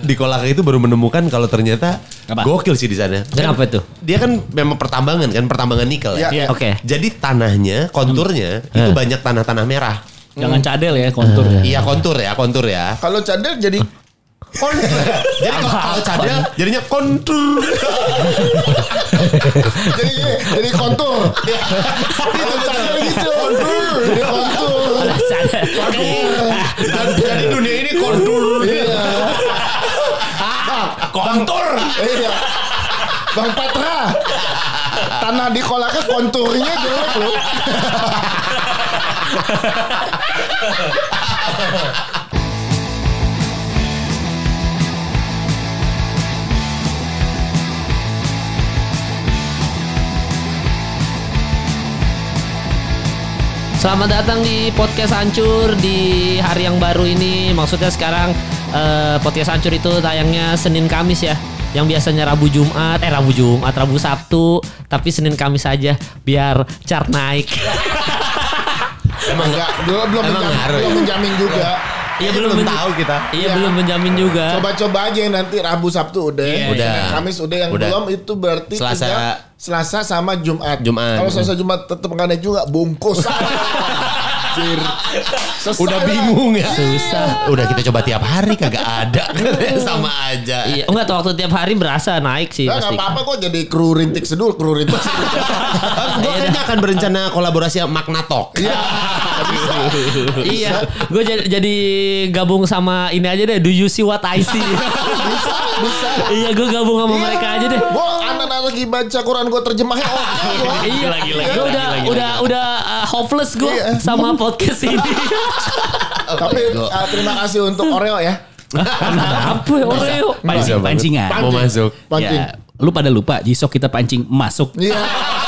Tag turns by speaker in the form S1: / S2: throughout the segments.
S1: di Kolaka itu baru menemukan kalau ternyata
S2: Apa?
S1: gokil sih di sana.
S2: Kenapa tuh?
S1: Dia kan memang pertambangan kan, pertambangan nikel ya.
S2: Iya. Oke.
S1: Jadi tanahnya, konturnya
S3: Hmm. Iya.
S1: itu banyak tanah-tanah merah.
S2: Jangan cadel ya kontur.
S3: Ah,
S1: Iya kontur ya, kontur ya.
S4: Kalau cadel jadi kontur.
S1: Jadi kalau- kalau cadel jadinya kontur.
S4: jadi jadi kontur. Itu cadel gitu. Kontur. Jadi kontur.
S2: Iya,
S1: Dan- Jadi dunia ini kontur.
S4: Iya.
S2: kontur.
S4: Iya. Bang Patra. Tanah di Kolaka konturnya jelek loh.
S3: Selamat datang di podcast hancur di hari yang baru ini. Maksudnya sekarang eh, podcast hancur itu tayangnya Senin Kamis ya. Yang biasanya Rabu Jumat, eh Rabu Jumat, Rabu Sabtu, tapi Senin Kamis aja biar chart naik.
S4: Emang enggak belum belum
S1: Emang
S4: menjamin,
S1: ngaruh ya?
S4: belum menjamin juga.
S3: Iya
S1: belum
S3: men-
S1: tahu kita.
S3: Iya
S4: Iya.
S3: belum menjamin juga.
S4: Coba-coba aja yang nanti Rabu Sabtu udah,
S2: Iya,
S1: Udah.
S4: Senin, Kamis udah yang
S1: Udah.
S4: belum itu berarti
S1: Selasa.
S4: tiga, Selasa sama Jumat.
S1: Jumat.
S4: Kalau Selasa Jumat tetap enggak ada juga bungkus. Anjir. Sesat
S1: Udah
S4: lah.
S1: bingung ya.
S3: Susah. Hmm.
S1: Udah kita coba tiap hari kagak ada. Sama aja.
S3: Iya, enggak tuh waktu tiap hari berasa naik sih
S4: Nah,
S3: pasti.
S4: nggak apa-apa kok jadi kru rintik sedul, kru rintik sedul.
S1: Gue kayaknya akan berencana kolaborasi sama Magna Talk.
S3: iya, gue jadi, jadi gabung sama ini aja deh. Do you see what I see?
S4: bisa, bisa.
S3: iya, gue gabung sama mereka aja deh.
S4: Gue anak-anak lagi baca Quran gue terjemahnya oke. gua.
S3: Iya,
S2: gila,
S3: Gua
S2: gila,
S3: udah
S2: gila, gila,
S3: udah udah uh, hopeless gue
S4: Iya.
S3: sama podcast ini.
S4: Tapi
S1: Gua-
S4: ah, terima kasih untuk Oreo ya.
S3: Apa
S2: ya,
S3: Oreo?
S2: Pancing, pancingan.
S1: Mau masuk.
S4: Pancing.
S2: Ya, lu pada lupa Jisok kita pancing masuk.
S4: Iya.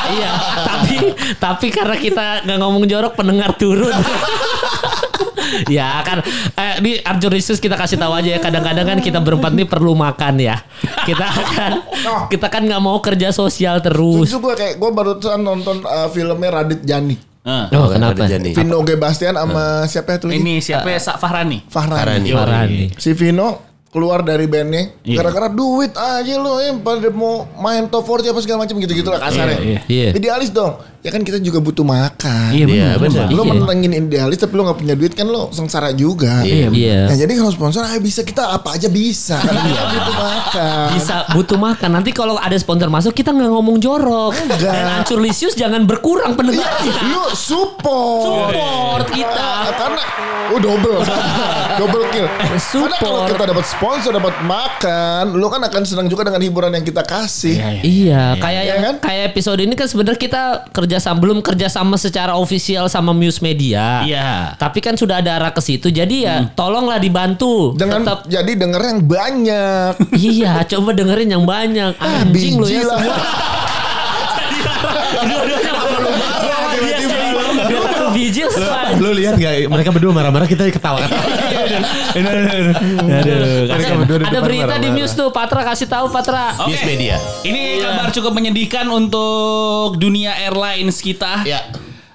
S3: iya, tapi tapi karena kita nggak ngomong jorok pendengar turun. ya kan eh, di Arjurisus kita kasih tahu aja ya kadang-kadang kan kita berempat nih perlu makan ya kita kan
S4: Oh.
S3: kita kan nggak mau kerja sosial terus
S4: Jujur gue kayak gue barusan nonton eh, filmnya Radit Jani.
S2: Heeh.
S3: oh kenapa
S1: Jani.
S4: Vino G. Bastian sama siapa itu lagi?
S2: Nah, Ini siapa ya? Sak Fahrani.
S4: Fahrani.
S1: Farani.
S3: Farani.
S4: Si Vino keluar dari bandnya
S2: Iya.
S4: gara-gara duit aja lo eh, pada mau main top 40 apa segala macam gitu-gitu lah
S2: Iya,
S4: kasarnya.
S3: iya.
S4: Idealis dong. Ya kan kita juga butuh makan.
S2: Iya
S1: Iya,
S2: benar.
S1: benar.
S2: Bang.
S4: Lo
S3: Iya.
S4: menentangin idealis tapi lo gak punya duit kan lo sengsara juga.
S2: Iya,
S3: iya
S4: Nah, jadi kalau sponsor ah, bisa kita apa aja bisa. Karena kita butuh makan.
S3: bisa butuh makan nanti kalau ada sponsor masuk kita nggak ngomong jorok
S4: Enggak.
S3: dan Arjurisius jangan berkurang pendengarnya
S4: Nah, Lu support.
S3: Support kita.
S4: Ah, Karena oh double. double kill. Karena kalau
S3: support.
S4: kita dapat sponsor, dapat makan, lu kan akan senang juga dengan hiburan yang kita kasih.
S2: Iya, iya.
S3: Iya, kayak
S4: Iya
S3: yang
S4: kan?
S3: kayak episode ini kan sebenarnya kita kerjasama belum kerjasama secara ofisial sama Muse Media.
S2: Iya.
S3: Tapi kan sudah ada arah ke situ, jadi ya tolonglah dibantu.
S4: Dengan
S3: Tetap
S4: jadi denger yang banyak.
S3: iya, coba dengerin yang banyak.
S4: Ah,
S3: Anjing lu
S4: biji
S3: ya
S4: lah.
S3: semua. Dua-duanya nggak perlu marah. Dia sering- dia satu biji langsung.
S1: Lu lihat gak mereka berdua marah-marah kita ketawa-ketawa. Mereka berdua di
S3: Ada
S1: depan
S3: berita di
S1: marah-marah.
S3: Muse tuh, Patra kasih tahu Patra.
S2: Oke.
S1: News media.
S2: Ini kabar cukup menyedihkan untuk dunia airlines kita.
S4: Iya.
S1: Ya.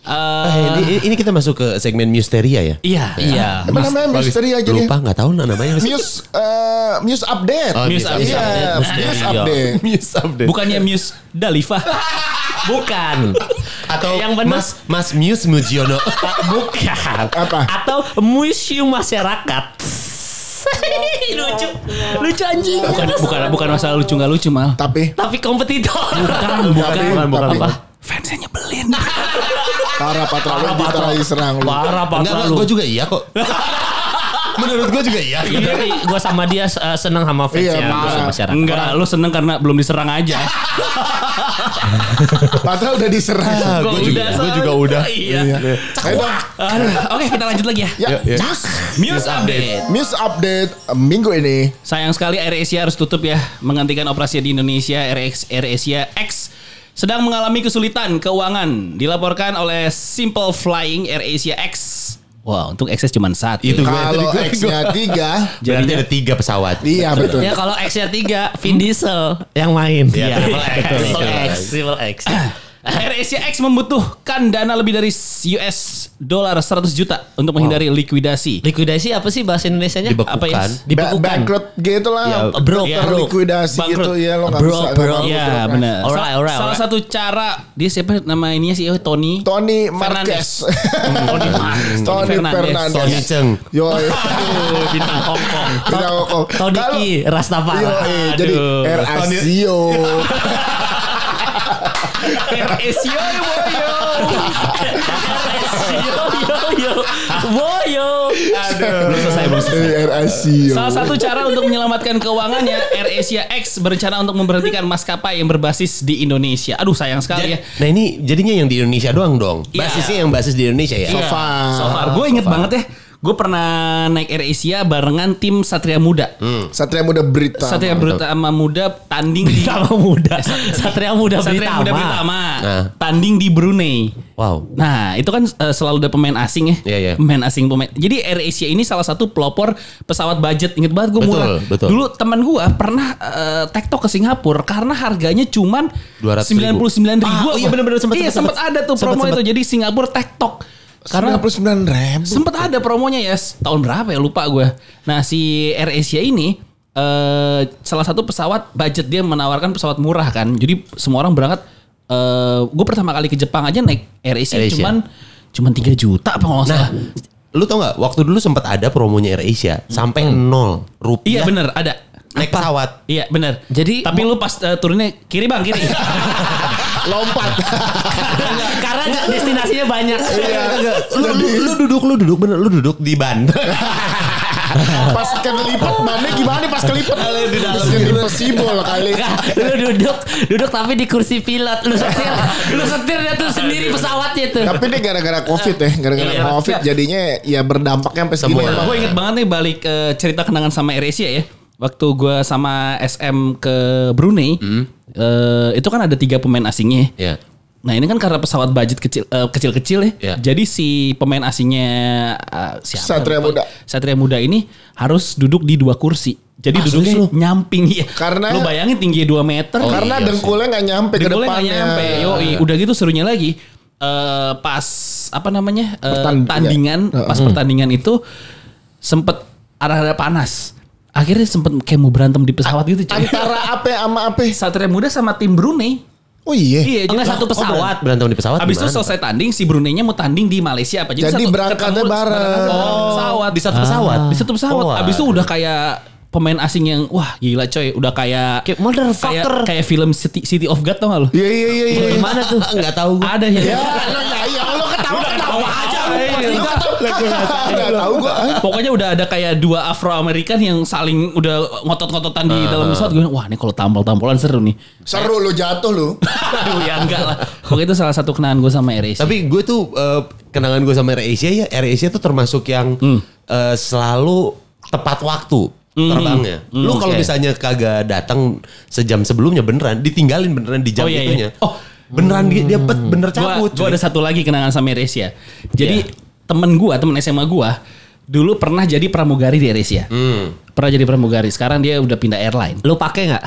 S2: Eh,
S1: Eh, ini, ini kita masuk ke segmen Misteria ya.
S2: iya, iya.
S4: Apa namanya
S1: Bagus.
S4: misteri aja nih.
S1: Lupa nggak tahu namanya.
S4: Muse eh, Muse update.
S1: Oh,
S2: Muse update.
S4: Iya,
S1: Misteri.
S4: Muse update.
S1: Muse update.
S2: Bukannya Muse Dalifa.
S3: Bukan.
S1: Atau
S3: Yang bener.
S1: Mas Mas Muse Mujiono.
S3: Bukan.
S4: Apa?
S3: Atau museum masyarakat. lucu. Lucu anjing.
S2: Bukan bukan bukan masalah lucu nggak lucu mal.
S4: Tapi
S3: Tapi kompetitor.
S2: Bukan
S4: tapi,
S2: bukan.
S4: tapi,
S3: Apa?
S2: Fansnya nyebelin.
S4: para patra lu kita lagi serang lu.
S3: Parah
S1: Enggak,
S3: Patra
S1: gue
S3: lu.
S1: juga iya kok. Menurut gue juga iya.
S3: Gue sama dia eh, seneng sama fans
S4: Iya,
S3: ya. gua
S4: parah.
S3: sama masyarakat.
S2: Enggak, lu seneng karena belum diserang aja.
S4: Patra udah diserang.
S1: Gue juga,
S3: udah,
S1: gua
S3: soalnya.
S1: juga udah.
S2: Iya.
S4: Ayo dong.
S2: Aduh, Oke, kita lanjut lagi ya.
S4: Ya,
S1: Ya, ya.
S4: Muse,
S2: Muse update.
S4: Muse update eh, minggu ini.
S2: Sayang sekali AirAsia harus tutup ya. Menghentikan operasi di Indonesia, RX AirAsia X sedang mengalami kesulitan keuangan. Dilaporkan oleh Simple Flying AirAsia X. Wah, untuk XS cuma satu.
S1: Itu gue
S4: Kalau X-nya tiga,
S1: Berarti ada tiga pesawat.
S4: Iya betul.
S3: Ya kalau X nya 3 Vin Diesel yang main.
S1: Iya,
S2: Ya,
S3: Triple
S1: betul.
S3: X, Triple X.
S2: AirAsia X membutuhkan dana lebih dari US dolar 100 juta untuk menghindari likuidasi.
S3: Likuidasi apa sih bahasa Indonesianya?
S5: Dibekukan.
S3: Apa ya?
S4: Ba-
S3: Dibekukan.
S4: Bankrupt gitu lah.
S5: Ya,
S3: broke,
S4: Ter-
S3: broke.
S4: Likuidasi
S2: Bangkrut.
S4: gitu ya lo nggak
S3: Broke,
S4: bisa. nggak
S3: broke.
S4: mampu
S2: Iya,
S4: broke.
S2: benar.
S3: Alright,
S2: Salah-
S3: alright,
S2: Salah
S3: alright.
S2: satu cara dia siapa nama ininya sih? Oh, Tony.
S4: Tony
S2: Fernandes.
S4: Marquez.
S2: Tony Marquez.
S4: Tony Fernandes.
S1: Tony
S2: Iya.
S1: Ceng.
S4: Yo.
S2: Aduh, bintang Hongkong.
S4: Bintang Hongkong. Kalau-
S3: Todiki
S4: Yo,
S3: Rastafari.
S4: eh, jadi
S2: Aduh.
S4: RSIO.
S2: RS yo yo.
S3: yo yo yo. Boyo.
S2: Belum selesai, belum selesai.
S4: Eh, RSIO.
S2: Salah satu cara untuk menyelamatkan keuangannya, AirAsia X berencana untuk memberhentikan maskapai yang berbasis di Indonesia. Aduh sayang sekali ya.
S1: Nah ini jadinya yang di Indonesia doang dong.
S2: Iya.
S1: Basisnya yang basis di Indonesia ya.
S2: Iya,
S1: Sofa.
S2: So far. Gue inget banget ya. Gue pernah naik AirAsia barengan tim Satria Muda.
S4: Satria Muda Berita.
S2: Satria Bertama Muda tanding di
S3: Sama muda. Satria muda
S2: Satria Muda Britama.
S1: Nah.
S2: Tanding di Brunei.
S1: Wow.
S2: Nah, itu kan eh, selalu ada pemain asing ya.
S1: Iya, iya.
S2: Pemain asing pemain. Jadi AirAsia ini salah satu pelopor pesawat budget. Ingat banget gue
S1: Betul,
S2: murah.
S1: betul.
S2: Dulu teman gue pernah eh, tektok ke Singapura karena harganya cuman
S1: 200.000.
S2: 99 ribu.
S1: Ah, iya, bener-bener, sempet,
S2: Iya,
S1: sempet,
S2: sempat ada tuh
S1: sempet,
S2: promo
S1: sempet.
S2: itu. Jadi Singapura tektok. Karena
S4: Karena 99 ribu.
S2: sempat ada promonya ya s- tahun berapa ya lupa gue. Nah si AirAsia ini eh salah satu pesawat budget dia menawarkan pesawat murah kan. Jadi semua orang berangkat. eh gue pertama kali ke Jepang aja naik AirAsia,
S1: AirAsia.
S2: cuman cuman 3 juta apa nggak salah.
S1: Nah, lu tau nggak? Waktu dulu sempat ada promonya AirAsia sampai nol
S2: iya
S1: rupiah
S2: bener ada.
S1: naik pesawat.
S2: Iya bener.
S3: Jadi-
S2: tapi lu pas eh, turunnya kiri bang kiri.
S4: Lompat.
S3: Karena destinasinya banyak.
S4: Iya.
S1: Eh, Lu, lu, lu duduk, lu duduk, bener, lu duduk di ban.
S4: Pas kelipet bannya gimana nih pas kelipet? Di dalam. Kelipet sibol kali.
S3: lu duduk duduk tapi di kursi pilot lu setir lu setir dia tuh sendiri pesawatnya tuh
S4: Tapi ini gara-gara covid ya, gara-gara
S2: Iya.
S4: covid jadinya ya berdampaknya sampai segini.
S1: Semua.
S4: emang.
S2: gue inget banget nih balik ke cerita kenangan sama AirAsia ya. Waktu gue sama SM ke Brunei, eh, itu kan ada tiga pemain asingnya. ya.
S1: Iya.
S2: Nah ini kan karena pesawat budget kecil eh, kecil-kecil ya.
S1: Iya.
S2: Jadi si pemain asingnya eh, siapa?
S4: Satria
S2: Lupa.
S4: Muda.
S2: Satria Muda ini harus duduk di dua kursi. Jadi
S1: Ah,
S2: duduknya
S1: serius lu?
S2: nyamping ya.
S4: Karena-
S2: lu bayangin tinggi 2 meter.
S1: Oh,
S4: Karena
S1: iya sih.
S4: dengkulnya nggak nyampe ke
S2: Dengkulnya nggak
S4: depannya.
S2: nyampe. Yoi.
S3: Iya.
S2: Udah gitu serunya lagi eh, pas apa namanya? eh,
S4: Pertand-
S2: tandingan,
S4: iya.
S2: pas pertandingan itu sempet arah-arah panas. Akhirnya sempet kayak mau berantem di pesawat gitu, coy.
S4: Antara apa sama apa?
S2: Satria Muda sama tim Brunei.
S4: Oh iya.
S2: Iya, jadi
S3: enggak satu pesawat
S1: Berantem di pesawat.
S2: Habis itu
S1: gimana?
S2: selesai tanding si Brunei-nya mau tanding di Malaysia
S4: Oh,
S2: apa
S4: Jadi
S2: satu-
S4: berangkatnya
S2: ketemu
S4: bareng. Oh. Ah.
S2: barengan dalam pesawat di satu pesawat. Di satu pesawat.
S1: Oh,
S2: Habis itu udah kayak pemain asing yang wah gila coy, udah kayak
S3: Kayak motherfucker.
S2: kayak, kayak film City, City of God tau gak lu?
S4: Iya iya iya iya.
S3: gimana tuh
S1: Nggak tahu gue.
S2: Ada ya.
S4: Ya, lo nggak iya, lo ketawa ketawa aja.
S2: Ada ya.
S4: Nggak tahu gua.
S2: Pokoknya udah ada kayak dua Afro Amerikan yang saling udah ngotot-ngototan di
S4: Ah.
S2: dalam pesawat. Gue bilang, wah ini kalau tampol-tampolan seru nih.
S4: Seru lo jatuh lo.
S2: Aduh ya enggak lah. Pokoknya itu salah satu kenangan gue sama Eris.
S1: Tapi gue tuh eh, kenangan gue sama AirAsia ya AirAsia tuh termasuk yang
S2: Hmm.
S1: eh, selalu tepat waktu terbangnya. Lu kalau
S2: Hmm. oke.
S1: misalnya kagak datang sejam sebelumnya beneran ditinggalin beneran di jam
S2: Oh, iya, iya.
S1: itunya.
S2: Oh.
S1: beneran dia, dia bet- bener cabut.
S2: Gue
S1: cuy.
S2: ada satu lagi kenangan sama Eresia. Jadi temen gue, temen SMA gue, dulu pernah jadi pramugari di Eresia. Pernah jadi pramugari. Sekarang dia udah pindah airline.
S3: lu pakai nggak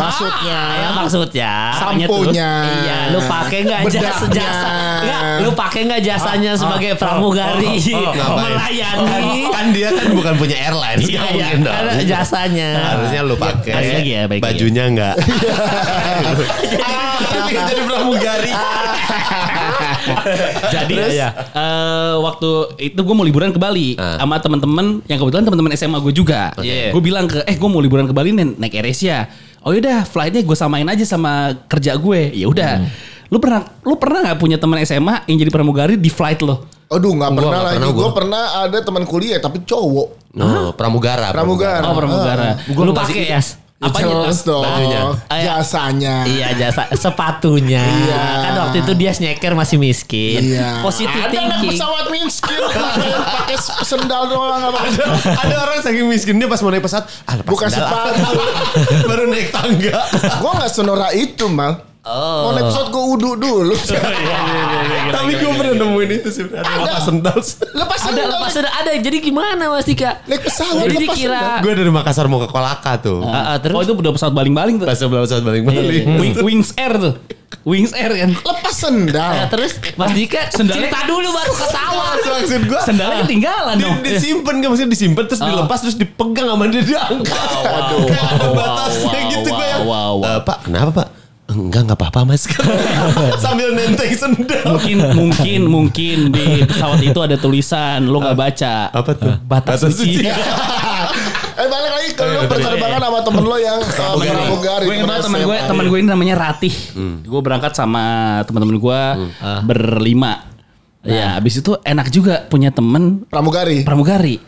S4: Maksudnya.
S3: ya maksudnya
S2: Apanya tuh?
S4: Samponya.
S3: iya lu pakai nggak jasa
S4: Bedaknya.
S3: jasa Nggak, lu pakai nggak jasanya sebagai pramugari
S1: ngapain?
S3: melayani
S1: kan dia kan bukan punya airline.
S3: Iya,
S1: nggak
S3: iya,
S1: mungkin dong.
S3: karena jasanya.
S1: Harusnya lu pakai.
S2: Balik lagi ya, balik lagi.
S1: bajunya enggak. jadi pramugari.
S2: Jadi
S1: Terus?
S2: eh, waktu itu gue mau liburan ke Bali
S1: Ah.
S2: sama teman-teman yang kebetulan teman-teman SMA gue juga.
S1: Oke.
S2: Gue bilang ke eh gue mau liburan ke Bali nih naik AirAsia. Oh yaudah flightnya gue samain aja sama kerja gue. Ya udah. Lu pernah lu pernah nggak punya teman SMA yang jadi pramugari di flight lo?
S4: Aduh nggak
S1: Gua
S4: pernah
S1: nggak
S4: lagi.
S1: pernah, gua.
S4: Gue pernah ada teman kuliah tapi cowok.
S1: No, pramugara.
S4: Pramugara.
S2: Oh pramugara.
S3: lu pakai ya
S4: Ya,
S2: Apanya, Tas?
S4: Jelas dong.
S1: Bajunya.
S4: Jasanya.
S3: Iya jasa sepatunya.
S4: Iya.
S3: Kan waktu itu dia sneaker masih miskin.
S4: Iya.
S3: Positive
S4: Ada anak
S3: thinking.
S4: pesawat miskin pakai sendal doang apa
S1: ada orang saking miskinnya pas mau naik pesawat ah lepas
S4: Bukan
S1: sendal ah.
S4: sepatu.
S1: baru naik tangga
S4: Gue nggak senora itu mal.
S3: Oh.
S4: Mau episode gue udu dulu.
S1: Tapi gue pernah nemuin itu sih. Ada lepas sendal.
S4: lepas
S3: Ada
S4: sendal,
S3: lepas ada ada. Jadi gimana Mas Dika?
S4: Naik pesawat
S3: Jadi
S4: lepas
S3: dikira
S1: Gue dari Makassar mau ke Kolaka tuh.
S3: Ah, ah, terus
S2: Oh itu udah pesawat baling-baling tuh.
S1: Pas sebelum saat
S2: Iya,
S1: balik-balik.
S2: Wing- Wings Air tuh. Wings Air kan.
S4: Lepas sendal.
S3: Ah, terus Mas Dika
S2: Sendalnya-
S3: cerita dulu baru ketawa.
S1: Maksud gue.
S2: Sendalnya ketinggalan
S1: Di,
S2: dong.
S1: disimpan kan maksudnya disimpan terus
S2: Ah.
S1: dilepas terus dipegang sama dia diangkat.
S2: Wow,
S1: Kayak ada
S2: wow,
S1: batasnya
S2: wow,
S1: gitu
S4: ya.
S1: gue yang.
S2: wow, wow, wow.
S1: "Eh, pak kenapa pak? Enggak nggak apa-apa mas. Sambil nenteng sendal.
S2: Mungkin mungkin mungkin di pesawat itu ada tulisan lu nggak baca. Iya.
S1: Apa tuh?
S2: Batas, suci.
S4: eh balik lagi ke lu penerbangan sama temen lo yang uh, pramugari.
S2: Gue kenal
S4: pernah
S2: teman
S4: SMA.
S2: gue, teman gue ini namanya Ratih. Gue berangkat sama teman-teman gue berlima. Ya, abis itu enak juga punya temen
S4: Pramugari.
S2: pramugari.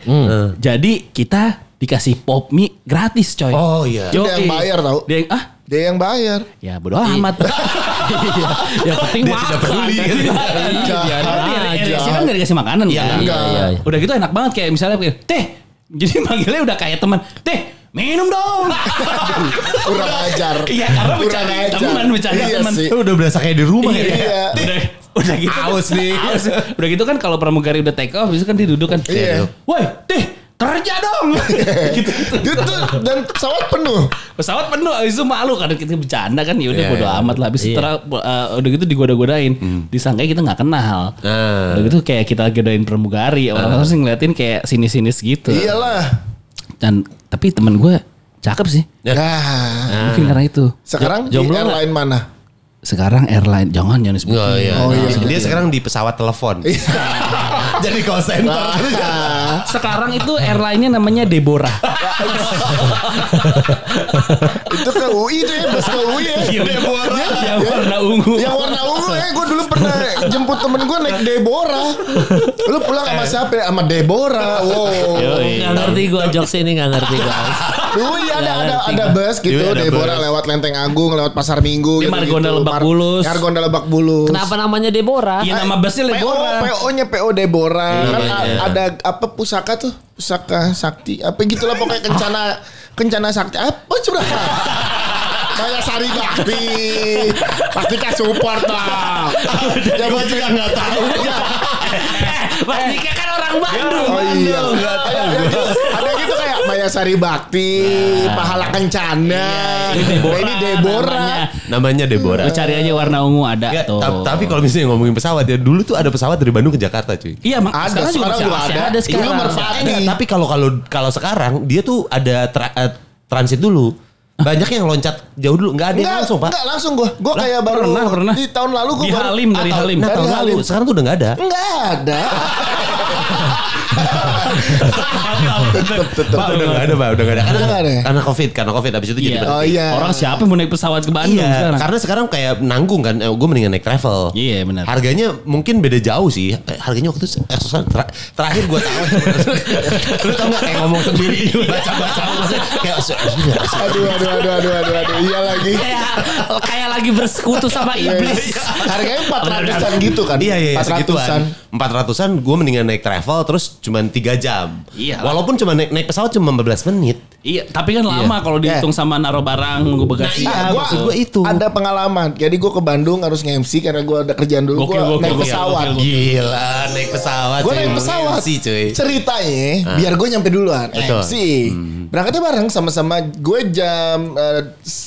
S2: Jadi kita dikasih pop mie gratis coy.
S1: Oh, iya.
S2: Yoi.
S4: Dia yang bayar tau.
S2: Dia yang, ah
S4: Dia yang bayar.
S2: ya bodo amat.
S3: Iya. Yang penting
S1: Dia tidak peduli.
S2: Iya,
S4: Jahat
S2: dia dari
S4: aja.
S2: RSC kan gak dikasih makanan ya.
S3: Iya, iya, iya.
S2: Udah gitu enak banget kayak misalnya kayak, teh. Jadi manggilnya udah kayak teman, teh minum dong.
S4: Kurang ajar.
S2: Iya karena
S4: Kurang
S2: bercanda
S4: ajar.
S2: teman, bercanda
S4: Iya
S2: teman.
S4: sih.
S1: Udah berasa kayak di rumah
S2: Iya.
S1: ya.
S4: Iya.
S2: Udah, udah gitu. kan-
S1: Aus nih.
S2: Aus. Udah gitu kan kalau pramugari udah take off, itu kan dia duduk kan.
S4: Iya.
S2: Woi, teh kerja dong. gitu,
S4: Dia tuh dan pesawat penuh.
S2: Pesawat penuh abis itu malu karena kita bercanda kan ya udah
S1: Iya,
S2: bodo
S1: iya. Hmm.
S2: amat lah abis itu terang, eh, udah gitu digoda-godain. Disangkanya kita nggak kenal.
S1: Ah.
S2: Udah gitu kayak kita godain
S1: Eh.
S2: pramugari, orang-orang sih ngeliatin kayak sinis-sinis gitu.
S4: Iyalah.
S2: Dan tapi temen gue cakep sih.
S1: Ya.
S4: Nah,
S2: Mungkin karena itu.
S4: sekarang
S1: Eh.
S4: di
S1: Jomblo nggak?
S4: airline mana?
S2: Sekarang airline jangan jangan disebut.
S1: Oh iya.
S4: Oh, iya.
S1: Dia sekarang di pesawat telepon. Jadi call center.
S4: Ah,
S2: Nah, Sekarang itu airline-nya namanya Deborah.
S4: itu ke UI deh, bus ke UI ya.
S2: Iya, Deborah. Yang warna ungu.
S4: Yang warna ungu eh gue dulu pernah jemput temen gue naik Deborah. Lu pulang sama siapa? ya? Sama Deborah.
S2: Iya. Oh,
S4: Wow.
S3: Gak ngerti gue jokes ini gak ngerti gue.
S4: Dulu ya ada ada ada bus gitu
S1: Iya, ada
S4: Deborah
S1: bus.
S4: lewat Lenteng Agung, lewat Pasar Minggu
S2: Di Margonda Lebak Bulus.
S4: Margonda Lebak Bulus.
S3: Kenapa namanya Deborah?
S2: Iya nama busnya
S4: PO,
S2: Deborah.
S4: PO-nya PO Deborah. kan
S1: Iya,
S4: a-
S1: iya.
S4: ada apa pusaka tuh? Pusaka sakti. Apa gitulah pokoknya kencana kencana sakti. Apa coba? Kayak Sari Bakti. Pasti kan support lah. ya gue juga nggak tahu. Ya.
S3: Mas Dika kan orang Bandung.
S4: Oh iya. Ya, ya, Ada gitu kayak Maya Sari Bakti, Pahala Kencana.
S2: Nah. Iya, Ini
S4: Nah,
S2: Deborah
S4: ini Deborah.
S2: namanya.
S1: Namanya Deborah.
S2: Lu cari aja warna ungu ada
S1: Nggak,
S2: tuh.
S1: ta- tapi kalau misalnya ngomongin pesawat ya dulu tuh ada pesawat dari Bandung ke Jakarta cuy.
S2: Iya, mak-
S4: Ada,
S2: sekarang juga
S4: sekarang
S2: masih
S4: juga ada.
S2: ada. Iya,
S4: Iya.
S2: Ada sekarang.
S4: Dulu merpati.
S1: Enggak, tapi kalau kalau kalau sekarang dia tuh ada tra- eh, transit dulu. Banyak yang loncat jauh dulu, nggak ada yang
S4: Enggak,
S1: langsung, Pak.
S4: enggak langsung gue. Gue
S2: Lah,
S4: kayak baru
S2: pernah, pernah.
S4: di tahun lalu gue
S2: Di Halim, dari Halim.
S1: Nah, tahun
S4: Dari
S1: lalu,
S4: Halim.
S1: sekarang tuh udah nggak ada.
S4: Enggak ada.
S2: Tetep, tetep.
S1: Pak, udah nggak ada, Pak, udah nggak ada. Karena,
S4: Udah nggak ada ya?
S1: karena Covid, karena Covid habis itu jadi
S2: Iya.
S1: berhenti.
S4: Oh iya.
S2: Orang siapa yang mau naik pesawat ke Bandung
S1: Iya,
S2: sekarang?
S1: karena sekarang kayak nanggung kan, gue mendingan naik travel.
S2: Iya, benar.
S1: Harganya mungkin beda jauh sih. Eh, Harganya waktu itu eh, susah. Ter- terakhir gue tahu. Lu tau gak kayak ngomong sendiri, baca-baca maksudnya kayak eh, "Su- gila, su-
S4: Aduh, aduh, aduh, aduh, aduh, aduh. Iya lagi.
S3: Kayak kayak lagi bersekutu sama
S4: Iya.
S3: iblis.
S4: Harganya 400-an gitu kan?
S1: Iya iya
S4: 400-an.
S1: segituan. 400-an gue mendingan naik travel terus cuman 3 jam.
S2: Iya.
S1: Walaupun cuma naik, naik pesawat cuma 15 menit.
S2: Iya, tapi kan lama kalau dihitung sama naro barang, nunggu
S1: Nah,
S2: bagasi.
S1: iya,
S4: Nah, gua,
S1: maksud gua itu.
S4: Ada pengalaman. Jadi gue ke Bandung harus nge-MC karena gue ada kerjaan dulu.
S2: Gokil,
S4: Gue
S2: gokil,
S4: naik
S2: gokil,
S4: pesawat.
S2: gokil,
S1: Gila naik pesawat.
S4: Gue
S1: cuy.
S4: naik pesawat.
S1: Emosi, cuy.
S4: Ceritanya
S2: Ah.
S4: biar gue nyampe duluan.
S1: Betul.
S4: MC.
S2: Hmm.
S4: Berangkatnya bareng sama-sama. Gue jam eh,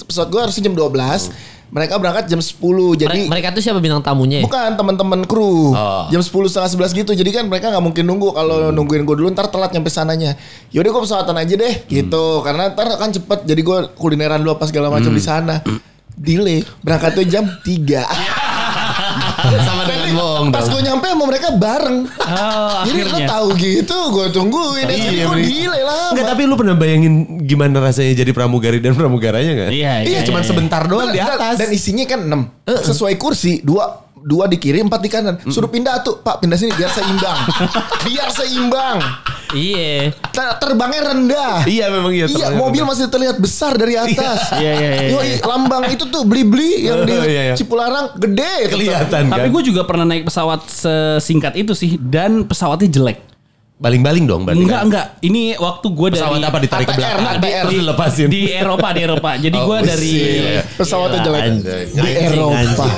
S4: pesawat gue harusnya jam 12. Mereka berangkat jam 10.
S3: Mere-
S4: Jadi
S3: Mereka tuh siapa bintang tamunya? ya?
S4: Bukan teman-teman
S1: Eh. Oh.
S4: kru.
S1: Hmm.
S4: Jam 10 setengah 11 gitu. Jadi kan mereka nggak mungkin nunggu kalau nungguin gue dulu ntar telat nyampe sananya. Yaudah gue pesawatan aja deh
S1: Hmm.
S4: gitu. Karena ntar kan cepet. Jadi gue kulineran dulu apa segala macam
S1: Hmm.
S4: di sana. Delay. Berangkatnya jam 3.
S1: Sama dengan Iya, bohong dong.
S4: Pas
S1: Ah,
S4: gue nyampe sama mereka bareng.
S2: Oh,
S4: Jadi lo
S2: akhirnya.
S4: tahu gitu gue tungguin.
S1: Iya,
S4: Jadi gue
S1: bener.
S4: delay lah.
S1: Enggak tapi lu pernah bayangin gimana rasanya jadi pramugari dan pramugaranya enggak?
S2: Iya, iya,
S1: Iya, cuman
S2: iya.
S1: sebentar doang di
S4: Dan-
S1: atas.
S4: Dan isinya kan 6. Sesuai kursi dua dua di kiri empat di kanan suruh pindah tuh pak pindah sini biar seimbang biar seimbang
S3: Iya.
S4: Ter- terbangnya rendah.
S1: Iya memang iya.
S4: Iya,
S1: terlalu-
S4: mobil masih terlihat besar dari atas.
S2: Iya, iya, iya,
S4: Yoi, lambang itu tuh beli-beli yang di
S1: Oh, iya, iya.
S4: Cipularang gede. gitu. itu tuh.
S1: kelihatan kan.
S2: Tapi gue juga pernah naik pesawat sesingkat itu sih dan pesawatnya jelek.
S1: baling-baling dong berarti.
S2: Enggak,
S1: kan?
S2: enggak. Ini waktu gue dari
S1: Pesawat apa ditarik ke
S4: ATR,
S1: belakang?
S4: ATR.
S1: Di- Terus dilepasin.
S2: di Eropa, di Eropa. Jadi
S1: Oh,
S2: gue dari
S4: Iya,
S1: buset.
S4: Pesawatnya
S3: Gila,
S4: jelek.
S3: anjing,
S4: Di
S3: anjing,
S4: Eropa.
S3: anjing.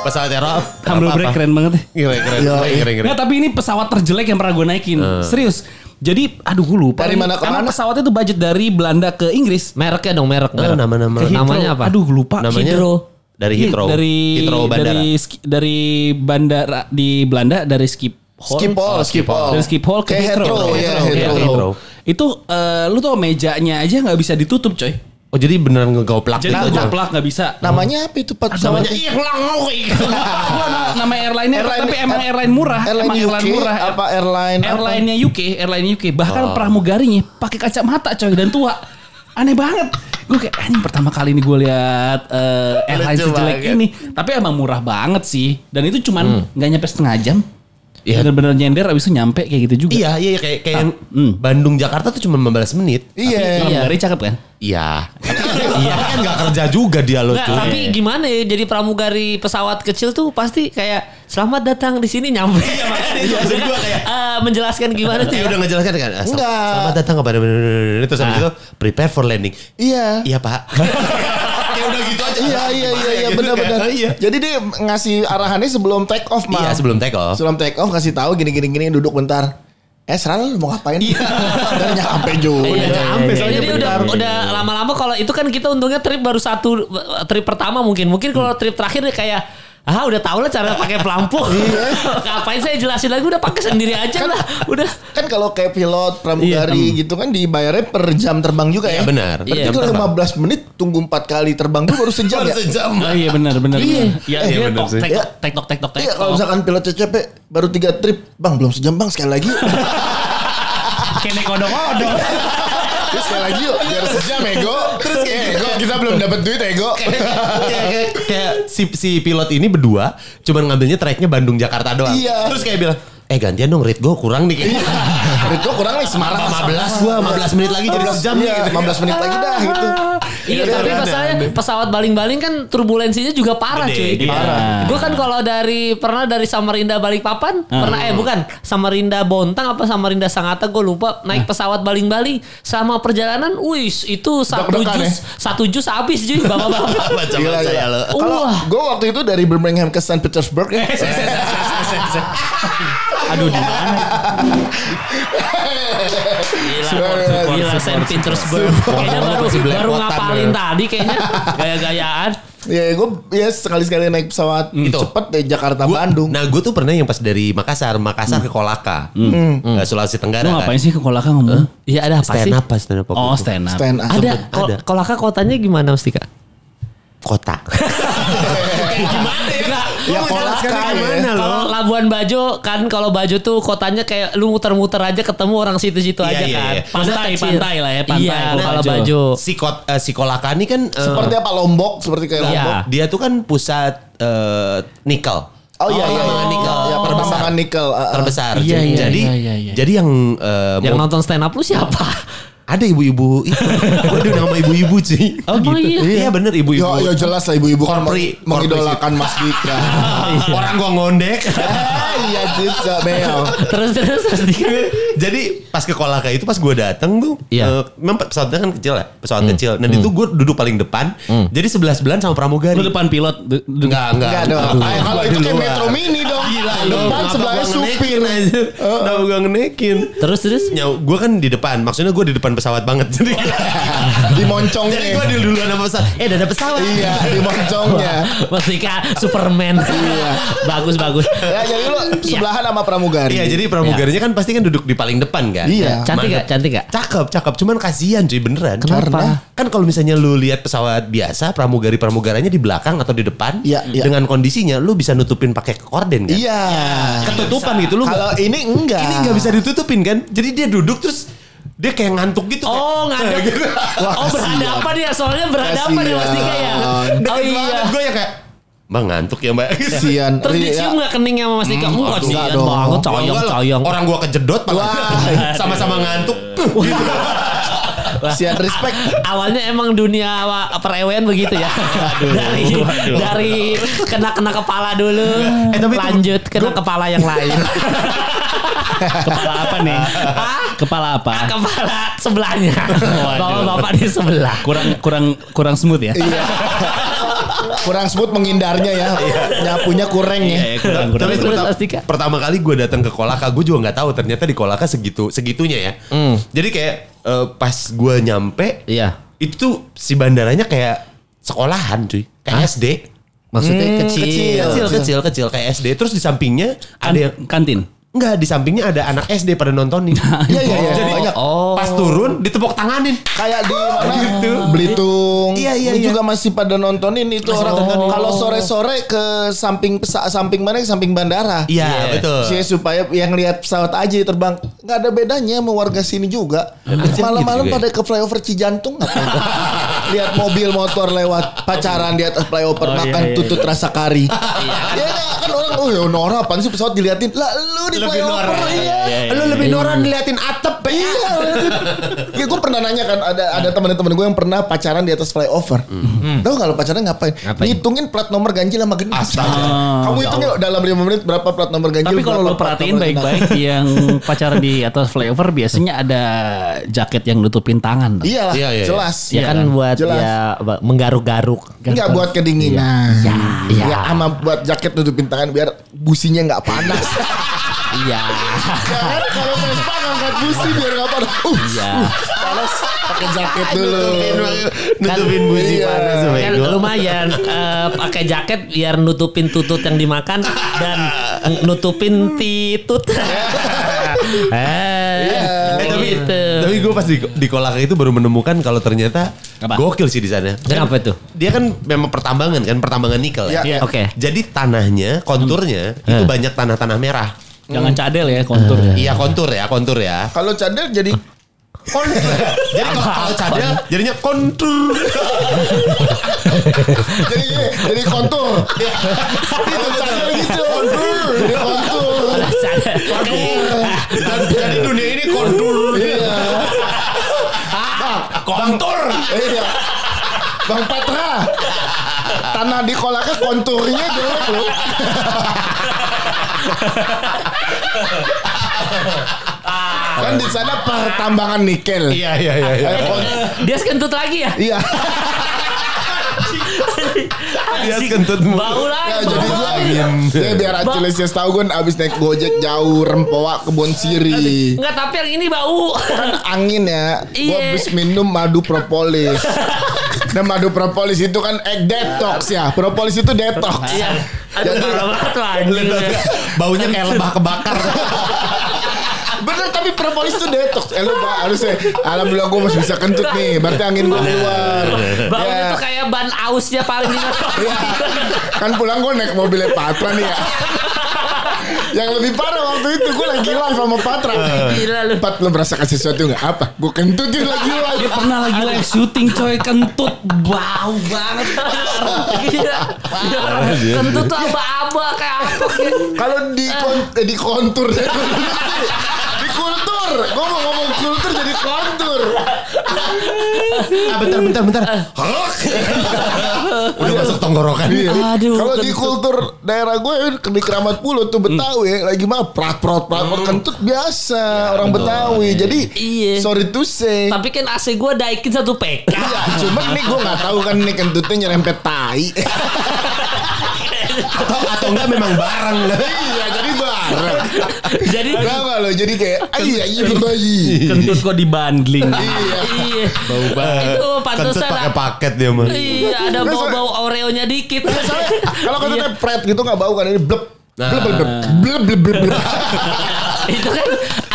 S1: Pesawat Eropa.
S2: Humble
S1: apa-apa.
S2: Break keren banget. ya.
S1: Gila, keren.
S4: Yo,
S1: keren, keren, keren.
S2: Nggak, tapi ini pesawat terjelek yang pernah gue naikin. Serius. Jadi aduh gue lupa.
S4: Dari
S2: nih.
S4: mana ke
S2: Karena
S4: mana?
S2: pesawatnya tuh budget dari Belanda ke Inggris.
S3: Mereknya dong merek.
S1: Oh,
S3: merek.
S1: nama-nama.
S3: Ke Heathrow. Namanya apa?
S2: Eh, Aduh lupa.
S1: Namanya
S2: Heathrow.
S1: dari
S2: Iya,
S1: Heathrow.
S2: Dari
S1: Heathrow bandara.
S2: Dari ski- dari bandara di Belanda dari Skip Hall.
S4: Skip hall, skip hall.
S2: Dari Skip Hall ke
S4: Kayak
S2: Heathrow.
S4: Heathrow, iya,
S2: Heathrow, iya,
S4: Heathrow.
S2: Heathrow. Itu eh, lu tau mejanya aja nggak bisa ditutup coy.
S1: Oh jadi beneran ngegoplak
S2: Jadi
S1: gitu aja.
S2: keplak nggak bisa.
S4: Namanya apa itu Pak pesawatnya?
S2: Gua na- nama airline-nya apa?
S4: Airline-
S2: iya, tapi emang
S4: air-
S2: airline murah, ya.
S4: Airline
S2: emang
S4: UK apa airline apa?
S2: airline-nya UK, airline UK. Bahkan pramugarinya pakai kacamata coy dan tua. Aneh banget. Gue kayak anjing pertama kali ini gue lihat eh, airline
S1: Lucu
S2: sejelek
S1: banget.
S2: ini. Tapi emang murah banget sih. Dan itu cuman nggak nyampe setengah jam.
S1: Iya.
S2: Bener-bener nyender abis itu nyampe kayak gitu juga.
S1: Iya, iya kayak kayak yang
S2: Hmm.
S1: Bandung Jakarta tuh cuma 15 menit.
S4: Iya.
S2: Pramugari cakep kan?
S1: Iya. Iya kan nggak kerja juga dia loh
S3: Nggak,
S1: cuy.
S3: tapi gimana ya jadi pramugari pesawat kecil tuh pasti kayak selamat datang di sini nyampe. Iya makanya
S1: itu maksud gua kayak-
S3: menjelaskan gimana tuh.
S1: Dia
S3: ya.
S1: udah ngejelaskan kan? "Ah, sel-
S4: Enggak.
S1: Selamat datang kepada terus habis itu prepare for landing.
S4: Iya.
S1: Iya, Pak. Kayak udah gitu aja.
S4: Iya iya iya iya
S1: Gitu
S4: benar-benar.
S1: kan? Iya.
S4: Jadi dia ngasih arahannya sebelum take off mah.
S1: Iya, sebelum take off.
S4: Sebelum take off kasih tahu gini gini gini duduk bentar. Eh sekarang lu mau ngapain? Iya. Dan nyampe juga.
S3: Iya, iya,
S1: nyampe
S3: iya.
S1: soalnya
S3: Jadi udah
S1: bentar.
S3: udah lama-lama kalau itu kan kita untungnya trip baru satu trip pertama mungkin. Mungkin kalau trip terakhir dia kayak Ah udah tau lah cara pakai pelampung. Ngapain saya jelasin lagi udah pakai sendiri aja lah. Udah.
S4: Kan kalau kayak pilot pramugari gitu kan dibayarnya per jam terbang juga ya.
S1: Iya, benar. Per
S4: Berarti
S1: jam
S4: kalau
S1: terbang.
S4: 15 menit tunggu 4 kali terbang dulu baru sejam
S1: Baru
S4: ya.
S1: sejam.
S2: Oh, iya benar benar.
S4: Iya.
S2: benar. Iya,
S1: Eh,
S2: iya
S1: iya,
S2: benar
S1: benar sih.
S2: sih.
S3: Tek tek tok tek tok.
S4: Iya kalau misalkan pilotnya capek baru 3 trip. Bang belum sejam bang sekali lagi.
S2: Kene kodong-kodong.
S4: Terus Ya, sekali lagi yuk biar sejam ego. Terus kayak gitu. ego kita belum dapat duit ego.
S1: kayak, kayak, kayak si, si pilot ini berdua cuman ngambilnya tracknya Bandung Jakarta doang.
S4: Iya.
S1: Terus kayak bilang, eh gantian dong rate gue kurang nih kayaknya.
S4: Duit gua kurang nih Semarang.
S1: 15 gua 15 menit lagi jadi sejam nih.
S4: Iya, 15 menit lagi dah gitu.
S3: Iya,
S1: Iya,
S3: tapi
S1: ada,
S3: masalahnya pesawat baling-baling kan turbulensinya juga parah cuy.
S1: Gede,
S3: Gitu.
S1: iya.
S2: Parah.
S3: Gue kan kalau dari pernah dari Samarinda Balikpapan, pernah eh bukan Samarinda Bontang apa Samarinda Sangatta gue lupa naik pesawat baling-baling sama perjalanan, wis itu satu
S4: Deg-degan ya?
S3: jus satu jus habis cuy bapak-bapak.
S1: Baca-baca ya lo.
S4: Kalau
S3: Wah.
S4: gue waktu itu dari Birmingham ke St. Petersburg ya.
S2: Aduh di mana?
S4: Iya,
S3: Gila, gila Saint Petersburg. Kayaknya baru
S1: Sebelah
S3: baru
S1: kota,
S3: ngapalin
S1: bener.
S3: tadi kayaknya gaya-gayaan.
S4: ya gue ya sekali-sekali naik pesawat
S1: Itu.
S4: cepet dari Jakarta
S1: Hmm. Gua-
S4: Bandung.
S1: Nah gue tuh pernah yang pas dari Makassar, Makassar ke Kolaka, Eh, Sulawesi Tenggara.
S2: Hmm. Lu
S1: kan.
S2: ngapain sih ke Kolaka ngomong?
S3: Iya ada apa sih?
S1: Stand up, pas stand up. waktu
S2: Oh
S1: itu.
S2: stand up.
S4: Stand up.
S3: Ada.
S1: Sempet
S3: Kol-
S1: ada.
S3: Kolaka kotanya gimana Mas Dika?
S1: Kota.
S3: Gimana
S4: Ya Kolaka ya.
S3: Iya. Kalau Labuan Bajo kan kalau Bajo tuh kotanya kayak lu muter-muter aja ketemu orang situ-situ
S1: Iya,
S3: aja
S1: iya,
S3: kan.
S1: iya.
S2: Pantai,
S3: Kecil.
S2: pantai lah ya, pantai
S3: Iya,
S2: kalau
S3: kalau
S2: Bajo.
S3: Bajo.
S1: si, kot, eh, si Kolaka ini kan eh,
S4: Seperti apa Lombok? Seperti kayak
S3: Iya.
S4: Lombok.
S1: dia tuh kan pusat eh, nikel.
S4: Oh iya iya.
S1: pertambangan nikel.
S4: Ya pertambangan nikel. ah, ah.
S1: terbesar.
S2: Iya, iya,
S1: jadi
S2: iya, iya, iya.
S1: jadi yang eh,
S3: Yang
S1: mau-
S3: nonton stand up lu siapa?
S1: ada ibu-ibu itu. Waduh nama ibu-ibu sih.
S3: Oh, gitu?
S1: Iya bener ibu-ibu.
S4: Ya, ya jelas lah ibu-ibu kan
S1: Korpri-
S4: meng- mengidolakan Mas Dika.
S1: Ah, Orang gua ngondek.
S4: Ah, Iya juga Mel.
S3: terus terus terus Dika.
S1: Jadi pas ke Kolaka itu pas gue dateng tuh,
S3: Iya.
S1: eh, memang pesawatnya kan kecil ya, pesawat kecil. Nah itu gue duduk paling depan, jadi sebelah sebelahan sama pramugari.
S2: Lu depan pilot. du- du-
S1: Enggak, enggak.
S4: Enggak dong.
S1: Aduh,
S4: Ah, Kalau
S1: gua
S4: itu
S1: di
S4: kayak
S1: luar.
S4: Metro Mini dong.
S1: Gila, lu,
S4: Depan
S1: kenapa
S4: sebelahnya
S1: gua
S4: supir.
S1: ngenekin aja? Kenapa gue ngenekin?
S3: Terus terus.
S1: Ya, gue kan di depan, maksudnya gue di depan pesawat banget. Jadi,
S4: Di moncongnya.
S1: jadi gue di duluan sama pesawat. Eh, ada pesawat.
S4: Iya, di moncongnya.
S3: Mas Dika Superman. bagus bagus.
S4: Ya jadi lu sebelahan sama pramugari.
S1: Iya, jadi pramugarinya kan pasti kan duduk di paling depan kan.
S4: Iya.
S3: Cantik gak?
S1: Mantep.
S3: Cantik gak?
S1: Cakep, cakep. Cuman kasihan cuy beneran.
S3: Kenapa?
S1: Kan kalau misalnya lu lihat pesawat biasa, pramugari-pramugaranya di belakang atau di depan,
S4: Iya, iya.
S1: dengan kondisinya lu bisa nutupin pakai korden kan?
S4: Iya.
S1: Ketutupan gitu lu.
S4: Kalau
S1: nggak-
S4: ini enggak.
S1: ini nggak bisa ditutupin kan? Jadi dia duduk terus dia kayak ngantuk gitu.
S3: Oh ngadep.
S1: Gitu.
S3: oh berhadapan ya soalnya berhadapan ya Mas Dika ya.
S1: Deket
S3: Oh iya. Iya.
S1: banget gue ya kayak Mbak ngantuk ya mbak
S4: Kasihan.
S3: Terus
S4: Ri-
S3: dicium
S4: ya.
S3: gak keningnya sama Mas Dika? Enggak
S4: aduh,
S3: kasihan
S4: enggak dong.
S3: banget
S1: Ya
S3: coyong
S1: enggak lah,
S3: coyong.
S1: Orang gua kejedot malah.
S4: Wah.
S1: Sama-sama ngantuk. Gitu.
S4: Sian respect.
S3: Awalnya emang dunia wa- perewen begitu ya. dari dari kena-kena kepala dulu, lanjut kena kepala yang lain.
S2: Kepala apa nih?
S3: Ah.
S2: Kepala apa?
S3: kepala sebelahnya. Bapak-bapak di sebelah.
S2: Kurang kurang kurang smooth ya?
S4: Iya. Kurang smooth menghindarnya ya. Nyapunya kurang
S2: Iya,
S4: ya.
S2: iya, kurang kurang.
S1: Tapi
S3: Terus,
S1: pertama,
S3: Astika.
S1: pertama kali gue datang ke Kolaka, gue juga nggak tahu ternyata di Kolaka segitu segitunya ya. Jadi kayak eh, pas gue nyampe,
S3: Iya.
S1: itu tuh si bandaranya kayak sekolahan cuy, kayak SD.
S3: Maksudnya
S2: Hmm,
S3: kecil.
S1: Kecil, kecil, kecil, kecil, kayak SD. Terus di sampingnya
S2: Kan-
S1: ada yang
S2: kantin.
S1: Enggak, di sampingnya ada anak SD pada nontonin.
S4: Iya, iya, iya.
S1: Jadi
S4: Banyak.
S1: pas turun ditepok tanganin.
S4: Kayak di mana?
S1: Gitu.
S4: Belitung.
S1: Iya, iya,
S4: Lu
S1: iya.
S4: juga masih pada nontonin itu orang. Kalau sore-sore ke samping pesa- samping mana? Ke samping bandara.
S1: Iya,
S2: Iya.
S1: betul.
S4: Sih, supaya yang lihat pesawat aja terbang nggak ada bedanya sama warga sini juga malam-malam
S1: gitu juga
S4: pada ke flyover Cijantung ngapain lihat mobil motor lewat pacaran di atas flyover
S2: Oh, iya,
S4: makan
S2: iya,
S4: tutut rasa kari ya kan orang oh ya Nora apaan sih pesawat diliatin lah lu di
S1: Lebih
S4: flyover
S1: norak.
S4: iya
S1: Lu lebih norak diliatin atap.
S4: Iya, ya, gue pernah nanya kan ada ada teman-teman gue yang pernah pacaran di atas flyover. Tahu nggak lo pacaran ngapain? Ngitungin plat nomor ganjil sama genap.
S1: Astaga.
S4: Kamu hitungin yuk dalam 5 menit berapa plat nomor ganjil?
S2: Tapi
S4: berapa
S2: kalau lo
S4: plat
S2: perhatiin
S4: nomor genap.
S2: baik-baik yang pacaran di atas flyover biasanya ada jaket yang nutupin tangan.
S4: Iya lah,
S1: Iya, iya, iya.
S4: jelas.
S3: Ya kan buat
S4: Jelas.
S3: ya ba- menggaruk-garuk.
S4: Enggak buat kedinginan.
S3: Iya. Iya.
S4: Ya, sama buat jaket nutupin tangan biar businya nggak panas.
S3: Iya.
S4: ya kan kalau Vespa ngangkat busi biar nggak panas. Uh,
S3: Iya.
S4: uh, panas pakai jaket dulu.
S1: Nutupin busi
S4: Iya.
S1: panas
S3: Kan
S1: bego.
S3: lumayan eh, pakai jaket biar nutupin tutut yang dimakan dan n- nutupin titut. eh,
S1: Eh, tapi
S3: gitu.
S1: tapi gue pas di, di Kolaka itu baru menemukan kalau ternyata
S2: Apa?
S1: gokil sih di sana.
S3: Kenapa tuh?
S1: Dia kan memang pertambangan kan, pertambangan nikel ya.
S4: Iya.
S3: Oke.
S1: Jadi tanahnya, konturnya
S3: Hmm. Eh.
S1: itu banyak tanah-tanah merah.
S2: Jangan cadel ya konturnya.
S1: Iya kontur ya, kontur ya.
S4: Kalau cadel jadi
S1: Kontur. Jadi kalau kalau cadel jadinya kontur.
S4: jadi jadi kontur. Kalau cadel gitu. Jadi kontur.
S1: Jadi dunia ini kontur.
S4: Iya.
S1: Kontur.
S4: Iya. Bang Patra. Tanah di Kolaka konturnya jelek loh. kan di sana pertambangan nikel.
S1: Iya iya iya. iya.
S4: Eh, kon-
S3: Dia sekentut lagi ya?
S4: Iya.
S1: Dia Iya, kentut
S3: Bau lagi.
S4: Ya,
S3: bau
S4: jadi gua
S3: lagi.
S4: ya, biar Acilesias tahu gue abis naik gojek jauh rempoa kebon siri.
S3: Enggak, tapi yang ini bau.
S4: kan angin ya. Gue
S3: Iya.
S4: habis minum madu propolis. Nah madu propolis itu kan egg detox ya. Propolis itu detox.
S3: Iya. Aduh,
S4: Jadi-
S3: parah banget tuh anjing.
S1: Baunya kayak lebah kebakar.
S4: Bener tapi propolis itu detox. Eh lu Pak, harusnya alhamdulillah gue masih bisa kentut nih. Berarti angin gue keluar.
S3: Baunya
S4: Ya.
S3: tuh kayak ban ausnya paling dingin.
S4: Iya. Kan pulang gue naik mobilnya Patra nih ya. Yang lebih parah waktu itu gue lagi live sama Patra.
S3: Gila lu.
S4: Pat lu merasakan sesuatu nggak? Apa? Gue kentutin lagi live.
S2: Dia pernah lagi live syuting coy kentut
S3: Bau banget. Gila. Kentut tuh aba-aba kayak apa kayak.
S4: Kalau di kon- eh, di kontur di kultur, gue mau ngomong kultur jadi kontur.
S1: Ah, bentar bentar bentar.
S3: Eh.
S1: Udah masuk tenggorokan.
S4: Iya.
S3: Aduh,
S4: Kalau di
S3: kentut.
S4: kultur daerah gue eh, di Keramat Pulau
S1: Hmm.
S4: tuh Betawi ya, lagi mah prat prat prat prat, kentut biasa
S1: Ya,
S4: orang Betawi. Jadi
S3: Iya.
S4: sorry to say.
S3: Tapi kan AC gua daikin satu PK.
S4: Iya, cuman nih gue nggak tahu kan nih kentutnya nyerempet tai.
S1: Atau atau enggak memang bareng.
S4: iya, jadi bareng.
S3: Jadi
S4: Gak nggak lo, jadi kayak iya iya bayi.
S2: kentut kok dibandling.
S4: Iya.
S3: iya.
S1: Bau banget.
S3: Itu pantesan
S1: Kentut pakai
S3: ada-
S1: paket dia mah.
S3: Iya, ada
S4: Nggak,
S3: bau-bau Oreo-nya dikit.
S4: Kalau kentutnya pret gitu nggak bau kan ini blep blep blep blep blep blep. blep.
S3: Itu kan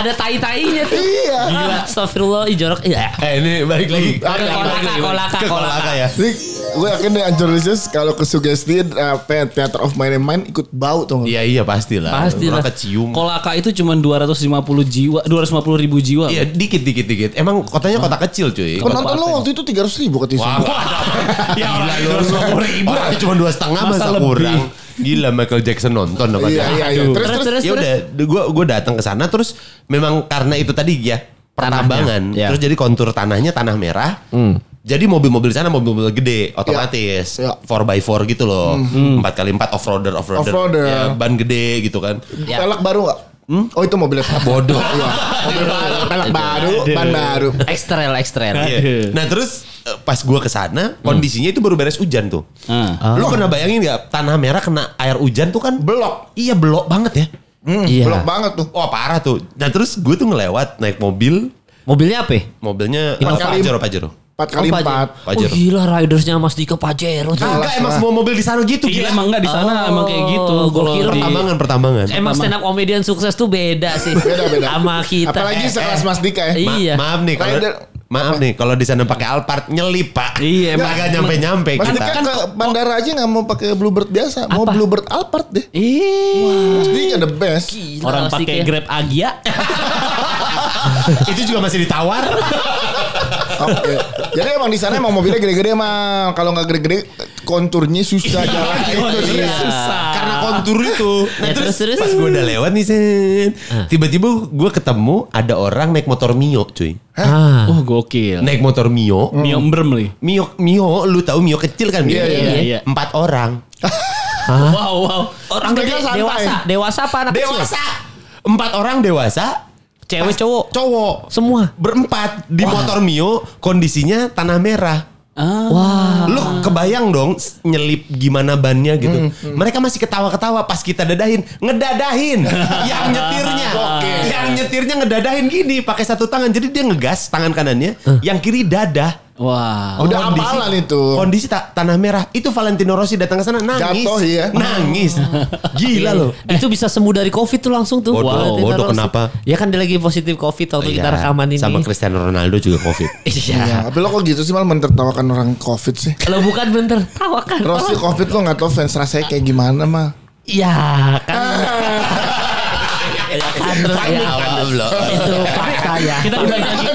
S3: ada tai-tainya tuh.
S4: Iya.
S3: Gila, astagfirullah, ih, jorok. Iya.
S1: Eh ini balik lagi.
S3: Kolaka, kolaka,
S1: Ke
S3: kolaka.
S1: kolaka ya.
S4: Jadi gue yakin nih Angelicious kalau kesugesti apa Theater of Mind and Mind ikut bau tuh.
S1: Iya iya pastilah.
S3: Pasti lah.
S1: Orang kecium.
S2: Kolaka itu cuma 250 jiwa, 250 ribu jiwa.
S1: Iya dikit dikit dikit. Emang kotanya kota kecil cuy.
S4: Penonton lo waktu itu 300 ribu
S1: Wah,
S4: katanya.
S1: wah,
S2: Ya
S1: gila
S2: orang
S1: lu.
S2: 250 ribu.
S1: Orang cuma dua setengah
S2: Masa
S1: masa,
S2: lebih.
S1: kurang. Gila Michael Jackson nonton ya? dong.
S4: Iya,
S1: katanya.
S4: iya, iya.
S1: Aduh.
S4: Terus,
S3: Terus, terus,
S1: ya
S3: terus.
S1: udah, gue gue datang ke sana terus memang karena itu tadi ya pertambangan.
S3: Tanahnya, ya.
S1: Terus jadi kontur tanahnya tanah merah. Jadi mobil-mobil sana mobil-mobil gede otomatis
S4: Hmm. Ya. Hmm.
S1: 4x4 gitu loh. 4x4 off-roader off-roader.
S4: Off-roader.
S1: Ya, ban gede gitu kan.
S3: Ya.
S4: Pelek baru nggak? Oh itu mobilnya bodoh. Iya. Mobil baru, pelek baru, ban baru.
S3: Ekstrel, ekstrel.
S1: Iya.
S2: Aduh.
S1: Nah terus eh, pas gua ke
S4: Hmm.
S1: sana kondisinya itu baru beres hujan tuh.
S2: Ah.
S1: Lu pernah bayangin nggak tanah merah kena air hujan tuh kan
S4: Belok.
S1: Iya belok banget ya.
S4: Hmm,
S3: Iya.
S4: Belok banget tuh.
S1: Wah parah tuh. Nah terus gue tuh ngelewat naik mobil,
S3: Mobilnya apa? ya?
S1: mobilnya
S4: Innova.
S1: Pajero Pajero.
S4: Empat kali
S3: Oh, Pajero.
S4: empat.
S3: Oh
S1: Pajero.
S3: gila ridersnya Mas Dika Pajero.
S4: Jelas
S1: Kagak emang
S4: lah.
S1: semua mobil di sana gitu
S2: Iya
S1: gila.
S2: emang enggak di sana
S3: Oh,
S2: emang kayak gitu.
S3: gua
S2: Kalau
S3: kira
S2: di-
S1: pertambangan pertambangan.
S3: Emang stand up comedian sukses tuh beda sih.
S4: Beda beda.
S3: Sama kita. Eh,
S4: Apalagi sekelas Mas Dika ya.
S3: Iya.
S1: Ma- maaf nih kalau
S4: Rider-
S1: maaf nih kalau di sana pakai Alphard nyelip pak.
S2: Iya, emang-
S1: Kagak nyampe nyampe
S4: Mas kan-
S1: kita.
S4: Dika ke bandara aja nggak mau pakai Bluebird biasa, mau
S3: Apa?
S4: Bluebird Alphard deh.
S2: Ih.
S4: Mas Dika the best.
S3: Gila,
S2: Orang
S3: Mas
S2: pakai
S3: Dika.
S2: Grab Agia.
S1: Itu juga masih ditawar.
S4: Oke. Oh, iya. Jadi emang di sana emang mobilnya gede-gede mal. Kalau nggak gede-gede konturnya susah jalan. Itu
S3: iya.
S4: dia.
S2: Susah.
S1: Karena kontur itu. Nah,
S3: Ya,
S1: terus, Ah.
S3: terus, terus.
S1: pas gue udah lewat nih, Sen. tiba-tiba gue ketemu ada orang naik motor Mio, cuy.
S3: Ah.
S2: Oh gokil.
S1: Naik motor Mio.
S2: Mio Embrem nih.
S1: Mio, Mio, lu tahu Mio kecil kan?
S4: Iya, iya,
S2: iya.
S1: Empat orang.
S2: Wow wow.
S3: Orang
S4: Mereka
S3: gede,
S4: santai.
S3: dewasa, dewasa apa anak kecil?
S1: Dewasa. Empat orang dewasa. pas
S3: Cewek cowok.
S1: Cowok.
S3: Semua.
S1: Berempat di motor Mio kondisinya tanah merah.
S2: Ah.
S3: Wah.
S1: Lu kebayang dong s- nyelip gimana bannya gitu.
S4: Hmm,
S1: Mereka masih ketawa-ketawa pas kita dadahin, ngedadahin yang nyetirnya.
S4: Oke.
S1: Yang nyetirnya ngedadahin gini pakai satu tangan. Jadi dia ngegas tangan kanannya, yang kiri dada.
S2: Wah.
S4: Ah. Udah apalan itu.
S1: Kondisi ta- tanah merah itu Valentino Rossi datang ke sana nangis.
S4: Jatuh, iya.
S1: Nangis. Gila loh.
S3: Iya. Eh, Itu bisa sembuh dari covid tuh langsung tuh.
S1: Bodoh,
S3: Valentino
S1: bodoh,
S3: Rossi.
S1: kenapa?
S3: Ya kan dia lagi positif covid waktu kita
S1: Iya,
S3: rekaman ini.
S1: Sama Cristiano Ronaldo juga Covid.
S3: Iya.
S4: Ya, tapi lo kok gitu sih malah mentertawakan orang covid sih.
S3: Lo bukan bener tawakan.
S4: Rossi covid lo nggak tau fans rasanya kayak gimana mah.
S3: Iya kan.
S4: Ah.
S3: Ya kan terus ya awal. Itu fakta ya.
S2: Kita udah nyanyi ke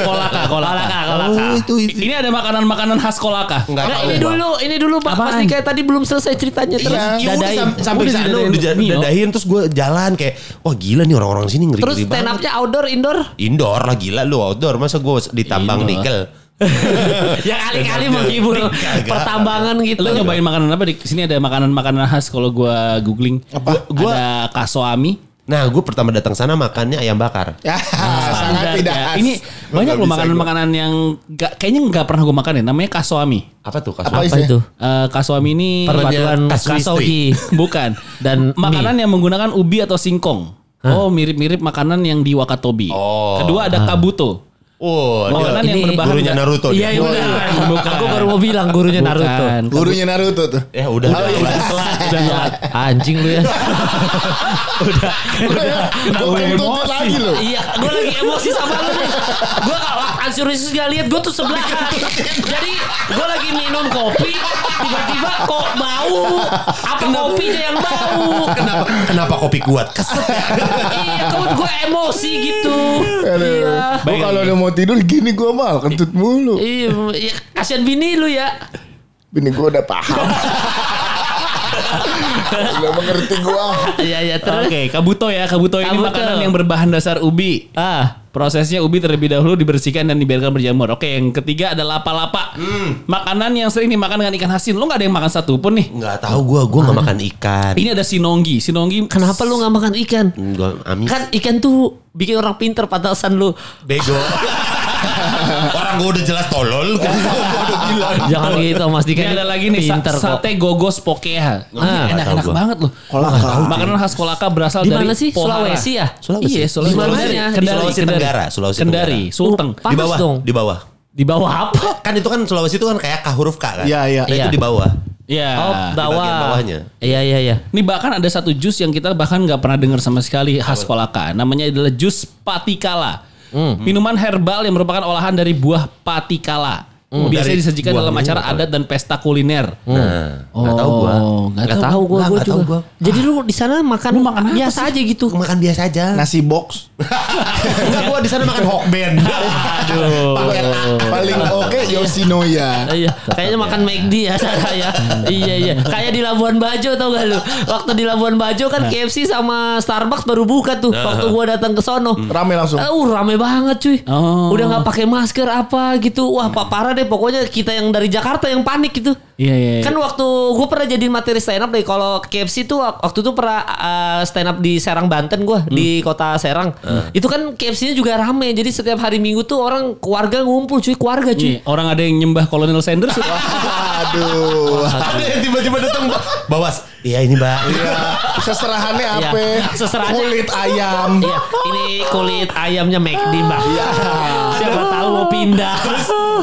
S2: Kolaka, Kolaka.
S3: Kolaka, kolaka.
S1: itu
S2: Ini ada makanan-makanan khas Kolaka.
S1: Enggak
S3: Nah,
S1: tahu.
S3: ini dulu, ini dulu Pak Mas
S2: Apaan?
S3: Dika tadi belum selesai ceritanya terus
S1: Iya, iya, udah
S3: dadain.
S1: sam- sampai
S2: Udah
S1: sana
S2: dadain.
S1: udah ja-
S2: Mio.
S1: dadahin terus gue jalan kayak wah gila nih orang-orang sini ngeri
S3: Terus
S1: ngeri
S3: stand
S1: banget.
S3: up-nya outdoor, indoor?
S1: Indoor lah gila lu outdoor masa gue ditambang
S2: Indoor.
S1: nikel.
S3: ya kali-kali
S2: Iya,
S3: menghibur
S1: Kagak.
S3: pertambangan gitu.
S2: Lo nyobain makanan apa di sini ada makanan-makanan khas kalau gua googling.
S4: Apa?
S2: Gua ada kasoami.
S1: Nah gue pertama datang sana makannya ayam bakar.
S4: Ya, sangat
S2: Standar
S4: tidak
S2: ya.
S4: khas.
S2: Ini
S4: Lo nggak
S2: banyak loh
S4: bisa gua.
S2: makanan-makanan yang gak, kayaknya nggak pernah gua makan ya. Namanya kasoami.
S1: Apa tuh
S4: Apa
S1: kasus?
S3: Apa
S4: isinya?
S3: itu?
S2: Eh kasoami ini
S3: Perpaduan
S1: Namanya kasuisti.
S3: kasogi.
S2: bukan
S3: Dan
S2: makanan yang menggunakan ubi atau singkong. Oh mirip-mirip makanan yang di Wakatobi.
S1: Oh.
S2: Kedua ada kabuto.
S1: Oh,
S2: Makanan
S1: dia,
S2: yang
S3: ini
S2: berbahan
S1: gurunya
S2: nggak-
S1: Naruto. dia.
S3: Iya, iya udah. Aku baru mau bilang gurunya Naruto.
S2: Bukan.
S4: Gurunya Naruto tuh.
S1: Ya udah.
S4: Oh,
S1: udah.
S4: iya.
S2: Udah telat, udah telat.
S3: Anjing lu ya.
S2: Iya.
S4: Gue pengen tuntut lagi loh.
S3: Iya, gue lagi emosi sama lu nih. Gue kalau Ansur Yesus gak lihat, gue tuh sebelah. Jadi gue lagi minum kopi, tiba-tiba kok bau. Apa kopinya yang bau?
S1: Kenapa kenapa kopi kuat? ya. Kesel.
S3: Iya, kamu gue emosi gitu. Iya.
S4: Gue kalau udah mau tidur gini gue mal kentut mulu.
S3: Iya, iya, kasihan bini lu ya.
S4: Bini gue udah paham. Udah mengerti gue.
S3: Iya, iya
S2: Oke,
S3: terus.
S2: kabuto ya. Kabuto, ini
S3: Kabuto.
S2: makanan yang berbahan dasar ubi.
S3: Ah,
S2: Prosesnya ubi terlebih dahulu dibersihkan dan dibiarkan berjamur. Oke, yang ketiga ada lapa-lapa.
S1: Hmm.
S2: Makanan yang sering dimakan dengan ikan asin. Lo nggak ada yang makan satu pun nih.
S1: Enggak tahu gue, gue nggak makan ikan.
S2: Ini ada sinonggi. Sinonggi
S3: kenapa lu gak makan ikan?
S1: Gue amis.
S3: Kan ikan tuh bikin orang pinter patasan lu.
S1: Bego. Orang gue udah jelas tolol. Gua udah bilang.
S3: Jangan gitu Mas Dika.
S2: Ini ada lagi nih sa-
S3: pinter kok.
S2: sate gogos pokea.
S3: Ah.
S2: Ini enak-enak
S1: Tahu gua.
S2: banget loh. Makanan khas Kolaka berasal
S3: Di
S2: dari
S3: mana sih? Sulawesi ya?
S2: Sulawesi. Iya,
S3: Sulawesi. Oh. Di
S2: Sulawesi.
S3: mana
S2: Kendari,
S3: ya? Di
S2: Kendari,
S1: Sulawesi
S2: Kendari.
S1: Tenggara, Sulawesi
S2: Kendari,
S1: Tenggara.
S2: Sulteng.
S3: Panas
S1: Di bawah,
S3: dong.
S1: di bawah.
S3: Di bawah apa?
S1: Kan itu kan Sulawesi itu kan kayak K huruf K kan?
S4: Iya, iya.
S1: Nah,
S3: Iya.
S1: Itu di bawah.
S2: Iya.
S3: Oh, bawah.
S1: Nah, bagian bawahnya.
S3: Iya, iya, iya.
S2: Ini bahkan ada satu jus yang kita bahkan nggak pernah dengar sama sekali khas Kolaka. Namanya adalah jus patikala. Minuman herbal yang merupakan olahan dari buah patikala. biasanya
S1: Dari
S2: disajikan
S1: buahnya
S2: dalam acara
S1: nggak tahu.
S2: adat dan pesta kuliner.
S1: Nah, nggak tahu gua.
S2: Oh, nggak
S1: Nggak
S3: Tahu gua,
S1: Nggak,
S3: gua
S1: nggak tahu
S3: juga. Jadi lu di sana makan,
S2: Lu makan apa
S3: biasa aja gitu.
S1: Makan biasa aja.
S2: Nah,
S4: Nasi box.
S1: Enggak gua di sana makan Hokben.
S2: Aduh.
S4: Kan Paling oke Yoshinoya.
S3: Iya, kayaknya makan McD ya sana ya. iya iya. Kayak di Labuan Bajo tau gak lu? Waktu di Labuan Bajo kan
S1: Nah.
S3: KFC sama Starbucks baru buka tuh. Waktu gua datang ke sono.
S1: Hmm.
S4: Rame langsung.
S3: Uh, rame banget cuy.
S2: Oh.
S3: Udah nggak pakai masker apa gitu. Wah, pak parah deh pokoknya kita yang dari Jakarta yang panik gitu.
S2: Iya iya. iya.
S3: Kan waktu gue pernah jadi materi stand up deh kalau KFC tuh wak- waktu itu pernah uh, stand up di Serang Banten gua
S2: Hmm.
S3: di kota Serang.
S2: Eh.
S3: Itu kan KFC-nya juga rame. Jadi setiap hari Minggu tuh orang keluarga ngumpul cuy, keluarga cuy.
S2: Iya, orang ada yang nyembah Kolonel Sanders.
S4: Aduh.
S1: Ada yang tiba-tiba datang Mbak. bawas. Iya ini mbak.
S4: Iya. Seserahannya apa?
S3: Seserahannya.
S4: Kulit ayam.
S3: Iya, ini kulit ayamnya McD, Mbak.
S2: Iya.
S4: Iya.
S3: Siapa tahu mau pindah.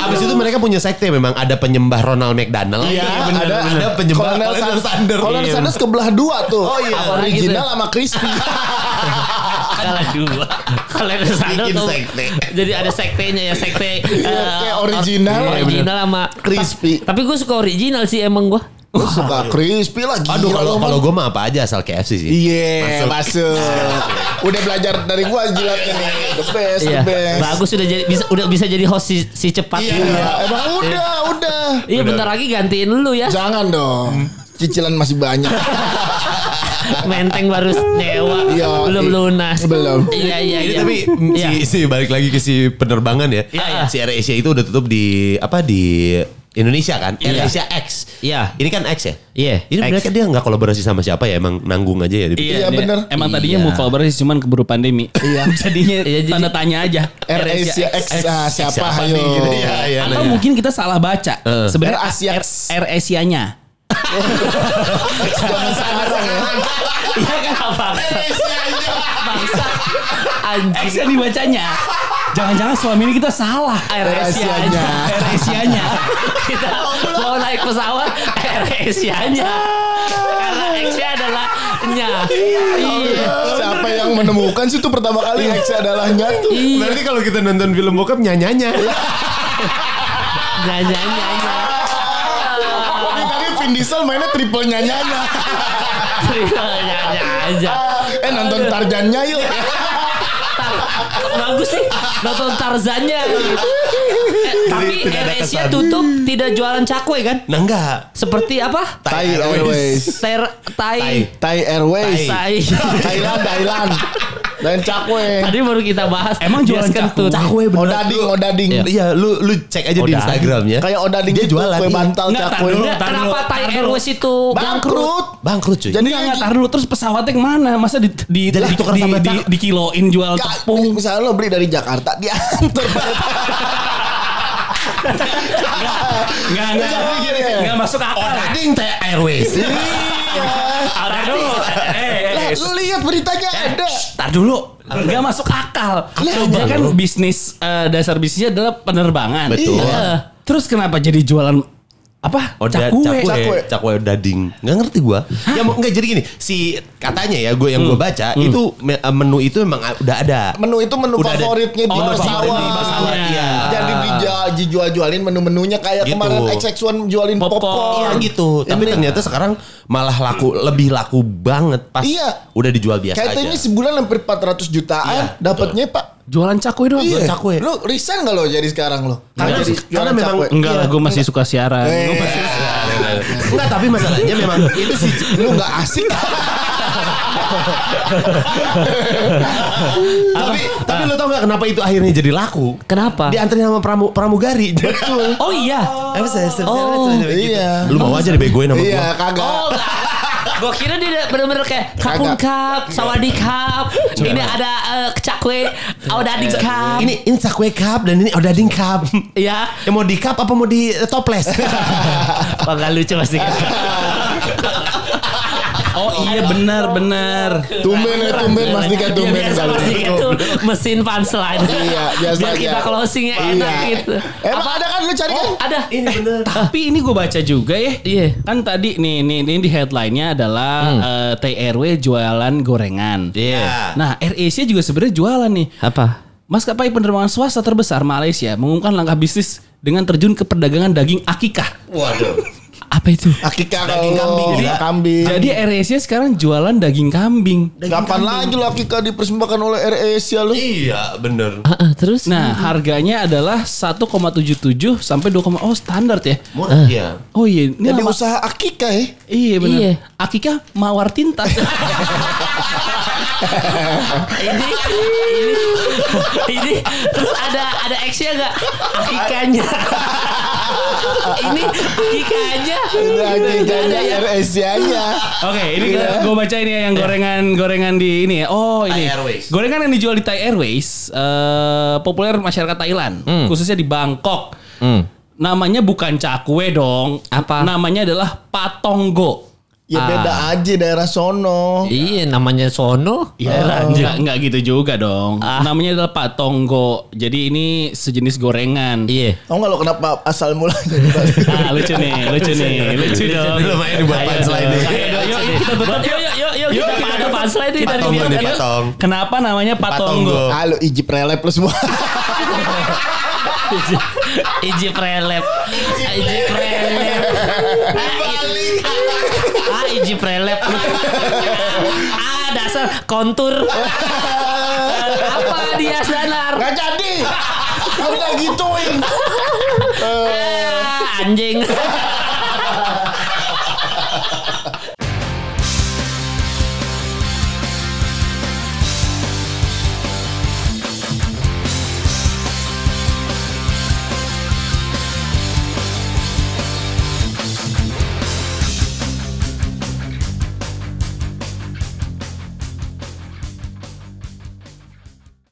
S1: Abis itu mereka punya sekte memang ada penyembah Ronald McDonald.
S4: Iya,
S1: bener,
S4: ada,
S1: bener. ada penyembah Iya.
S4: Kolonel
S1: Colonel
S4: Sanders.
S1: Sanders.
S4: Colonel Sanders kebelah dua tuh. Oh
S1: iya.
S4: Original sama crispy.
S3: Kalah dua. Kalau ada sana
S1: Bikin
S3: tuh.
S1: sekte.
S3: Jadi ada sektenya ya, sekte.
S4: Iya,
S3: eh,
S4: kayak original. Iya,
S3: or- original sama
S4: Crispy.
S3: Ta- Tapi gue suka original sih emang gue.
S4: Gua suka crispy lah. gila
S1: Aduh kalau
S4: lu,
S1: kalau
S4: Iya, Bang.
S1: gue mah apa aja asal KFC sih.
S4: Iya, masuk. Udah belajar dari gua jilatnya nih. The best,
S3: Iya.
S4: the best.
S3: Bagus udah jadi bisa udah bisa jadi host si, si cepat.
S4: Iya, emang udah, udah.
S3: Iya bentar lagi gantiin lu ya.
S4: Jangan dong. Cicilan masih banyak.
S3: Menteng baru nyewa.
S4: Iya.
S3: Belum lunas.
S4: Belum.
S3: Iya iya
S1: Ini
S3: iya.
S1: tapi mm,
S3: Iya.
S1: si, si balik lagi ke si penerbangan ya.
S3: Iya, iya.
S1: Si Air Asia itu udah tutup di apa di Indonesia kan? Air
S3: Iya.
S1: Asia X.
S3: Iya.
S1: Ini kan X ya?
S3: Iya,
S1: Ini
S3: X.
S1: mereka dia nggak kolaborasi sama siapa ya? Emang nanggung aja ya?
S4: Iya,
S2: dia-
S4: bener.
S2: Emang tadinya
S3: Iya.
S2: mau kolaborasi cuman keburu pandemi.
S4: Iya.
S2: Jadinya
S3: Iya, jadi-
S2: tanda tanya aja.
S4: Air Asia X, ah, siapa
S1: siapa
S4: ayo.
S1: nih gitu ya? Iya,
S2: Atau
S1: nanya.
S2: mungkin kita salah baca.
S1: Heeh.
S2: Sebenarnya
S4: Air Asia
S2: Air,
S4: X.
S2: Air Asia-nya.
S4: Jangan sekarang ya.
S3: Iya kan bangsa. Bangsa. Anjing.
S2: X yang dibacanya. Jangan-jangan selama ini kita salah.
S3: Air
S4: Air
S3: Asia
S4: Asia-nya.
S2: Air Asia-nya.
S3: Kita mau naik pesawat Air Asia-nya. Karena X-nya adalah nya. Iya.
S4: Siapa yang menemukan sih itu pertama kali X adalah nyatu.
S1: Berarti kalau kita nonton film bokap nyanyanya.
S3: Nyanyi nyanyi.
S4: Iya. Ini tadi Vin Diesel mainnya triple nyanyanya.
S3: Iya, Nyanyi aja.
S4: Eh nonton Tarzannya yuk.
S3: Bagus sih nonton Tarzannya. Eh, tapi
S1: Iya. Jadi tidak ada
S3: Air Asia
S1: kesan.
S3: tutup tidak jualan cakwe kan?
S1: Nah enggak.
S3: Seperti apa?
S4: Thai Airways.
S3: Ter Thai.
S4: Thai Airways.
S3: Thai.
S4: Thailand, Thailand. Dan cakwe.
S3: Tadi baru kita bahas.
S2: Emang jualan
S3: Bias
S2: cakwe?
S3: kentut.
S1: Cakwe bener.
S4: Odading, odading.
S1: Iya, Iya, lu lu cek aja di
S3: Odading.
S1: Instagramnya.
S4: Kayak odading
S1: Dia
S4: gitu,
S1: jualan,
S4: kue
S1: iya.
S4: bantal
S2: Nggak,
S4: cakwe.
S2: taruh dulu.
S3: Nggak, Kenapa Thai
S2: Taruh dulu.
S3: Airways itu bangkrut?
S4: Bangkrut.
S1: Bangkrut cuy.
S4: Jadi
S2: Enggak, enggak, taruh dulu. Terus pesawatnya kemana? Masa di, di,
S1: Jadi
S2: di,
S1: ditukar
S2: di,
S1: sama
S2: di,
S1: cak-
S2: dikiloin jual
S4: Nggak,
S2: tepung?
S4: misalnya lo beli dari Jakarta diantar
S2: Enggak, enggak.
S4: Iya.
S2: Enggak masuk akal.
S1: Odading teh Airways.
S4: Iya.
S2: Taruh dulu. Eh, eh,
S4: Lah,
S2: eh.
S4: Lu lihat beritanya ada.
S2: Tar dulu, nggak masuk akal. Coba
S1: apa
S2: kan
S1: lu?
S2: bisnis eh, dasar bisnisnya adalah penerbangan.
S1: Betul.
S2: Iya. Terus kenapa jadi jualan apa?
S1: Oda,
S2: cakwe.
S1: Oh, cakwe,
S4: Cakwe.
S1: cakwe, dading. Nggak ngerti gua. Ya mau nggak jadi gini, si katanya ya gue yang gua baca itu me- eh, menu itu memang a- udah ada.
S4: Menu itu menu
S1: Udah ada.
S4: favoritnya di
S1: Oh, menu
S4: pesawat.
S1: favorit di pesawat, iya.
S4: Jadi dija- dijual-jualin menu-menunya kayak
S1: Gitu.
S4: kemarin XX1 jualin
S3: Popcorn.
S4: popcorn.
S1: Iya gitu. Tapi ternyata sekarang malah laku lebih laku banget pas
S4: Iya.
S1: udah dijual biasa
S4: Kayak
S1: aja.
S4: ini sebulan hampir 400
S1: Iya,
S4: jutaan
S1: betul.
S4: dapatnya Pak.
S2: Jualan cakwe doang.
S1: jualan
S4: Iya.
S1: cakwe.
S4: Lu resign gak lo jadi sekarang lo?
S1: Karena-
S4: Jadi
S1: karena
S4: jualan
S1: memang-
S4: cakwe.
S2: Enggak lah, gue masih suka siaran.
S4: Eh,
S2: Gua masih-
S1: Enggak, Iya. tapi masalahnya memang itu sih
S4: Eh, lu gak asik.
S1: tapi tapi lu tau gak kenapa itu akhirnya jadi laku?
S3: Kenapa?
S1: Dianterin sama pramu- pramugari. Betul. Eh,
S3: Oh iya.
S1: Apa sih?
S3: Oh,
S1: gitu.
S4: iya.
S1: Lu mau aja dibegoin sama
S4: iya,
S1: gua.
S3: Oh
S4: kagak.
S3: enggak. Gue kira dia bener-bener kayak kakun cup, sawadi cup, ini ada eh, cakwe, audadi cup,
S1: Ini ini cakwe cup dan ini odading cup.
S3: ya.
S1: Ya mau di cup apa mau di eh, toples?
S3: Wah nggak lucu pasti.
S2: Oh iya benar benar.
S4: Tumben ya, tumben Mas Dika
S3: Iya,
S4: tumben
S3: biasa
S4: kali.
S3: Mas Dika tuh mesin punchline.
S4: Iya, biasa
S3: Biar kita
S4: aja.
S3: closingnya enak
S4: Iya.
S3: gitu. Oh,
S4: Emang ada kan lu cari kan?
S3: Ada.
S1: ini bener.
S2: Tapi ini gue baca juga ya.
S3: Iya.
S2: Kan tadi nih nih ini di headline-nya adalah eh, TRW jualan gorengan.
S1: Iya.
S2: Nah, Air Asia juga sebenarnya jualan nih.
S3: Apa?
S2: Maskapai penerbangan swasta terbesar Malaysia mengumumkan langkah bisnis dengan terjun ke perdagangan daging akikah.
S1: Waduh.
S3: Apa itu?
S4: Akika
S1: Daging kambing,
S4: kalau
S1: gila.
S4: kambing.
S2: Jadi AirAsia sekarang jualan daging kambing.
S4: Kapan lagi lo Akika dipersembahkan oleh AirAsia lo?
S1: Iya, bener.
S3: Ah, ah, terus?
S2: Nah, harganya adalah 1,77 sampai 2, oh standar ya.
S1: Murah, iya.
S2: Oh iya, ini
S4: Jadi
S2: lama-
S4: usaha Akika ya.
S2: Iya benar.
S3: Iya.
S2: Akikah mawar tinta.
S3: ini ini ini terus ada ada X-nya enggak? Akikanya. ini akikanya.
S4: Iya,
S3: iya, ya?
S4: Akikanya AirAsia-nya.
S2: Oke, ini gue bacain ya yang gorengan-gorengan di ini ya. Oh, ini.
S1: Iya. Thai Airways.
S2: Gorengan yang dijual di Thai Airways eh, populer masyarakat Thailand, khususnya di Bangkok. Namanya bukan cakwe dong.
S3: Apa?
S2: Namanya adalah patonggo.
S4: Ya beda aja daerah
S3: Ah.
S4: sono.
S3: Iya namanya Sono.
S1: Iya,
S2: Ya, enggak, enggak gitu juga dong.
S1: Ah.
S2: Namanya adalah patonggo. Jadi ini sejenis gorengan.
S3: Iya.
S4: Tau gak lo kenapa asal mulanya?
S2: Nah, lucu nih, lucu nih, lucu dong.
S1: Iya, Lumayan dibuat
S2: Ayo
S1: punchline
S2: dong.
S1: nih.
S2: Ayo dong, yuk, yuk, kita tutup. Yuk, yuk, yuk, yuk, kita
S3: kita
S2: tutup.
S3: ada punchline nih dari
S1: Patong
S3: dia.
S1: nih, patong.
S2: Kenapa namanya
S1: Patonggo.
S2: patonggo?
S4: ah lo iji prelep lo semua.
S3: Iji prelep. Iji prelep. Eh, Ah, iji prelep. Ah, dasar kontur. Apa dia sadar?
S4: Gak jadi. Kamu gak gituin.
S3: Ah, anjing.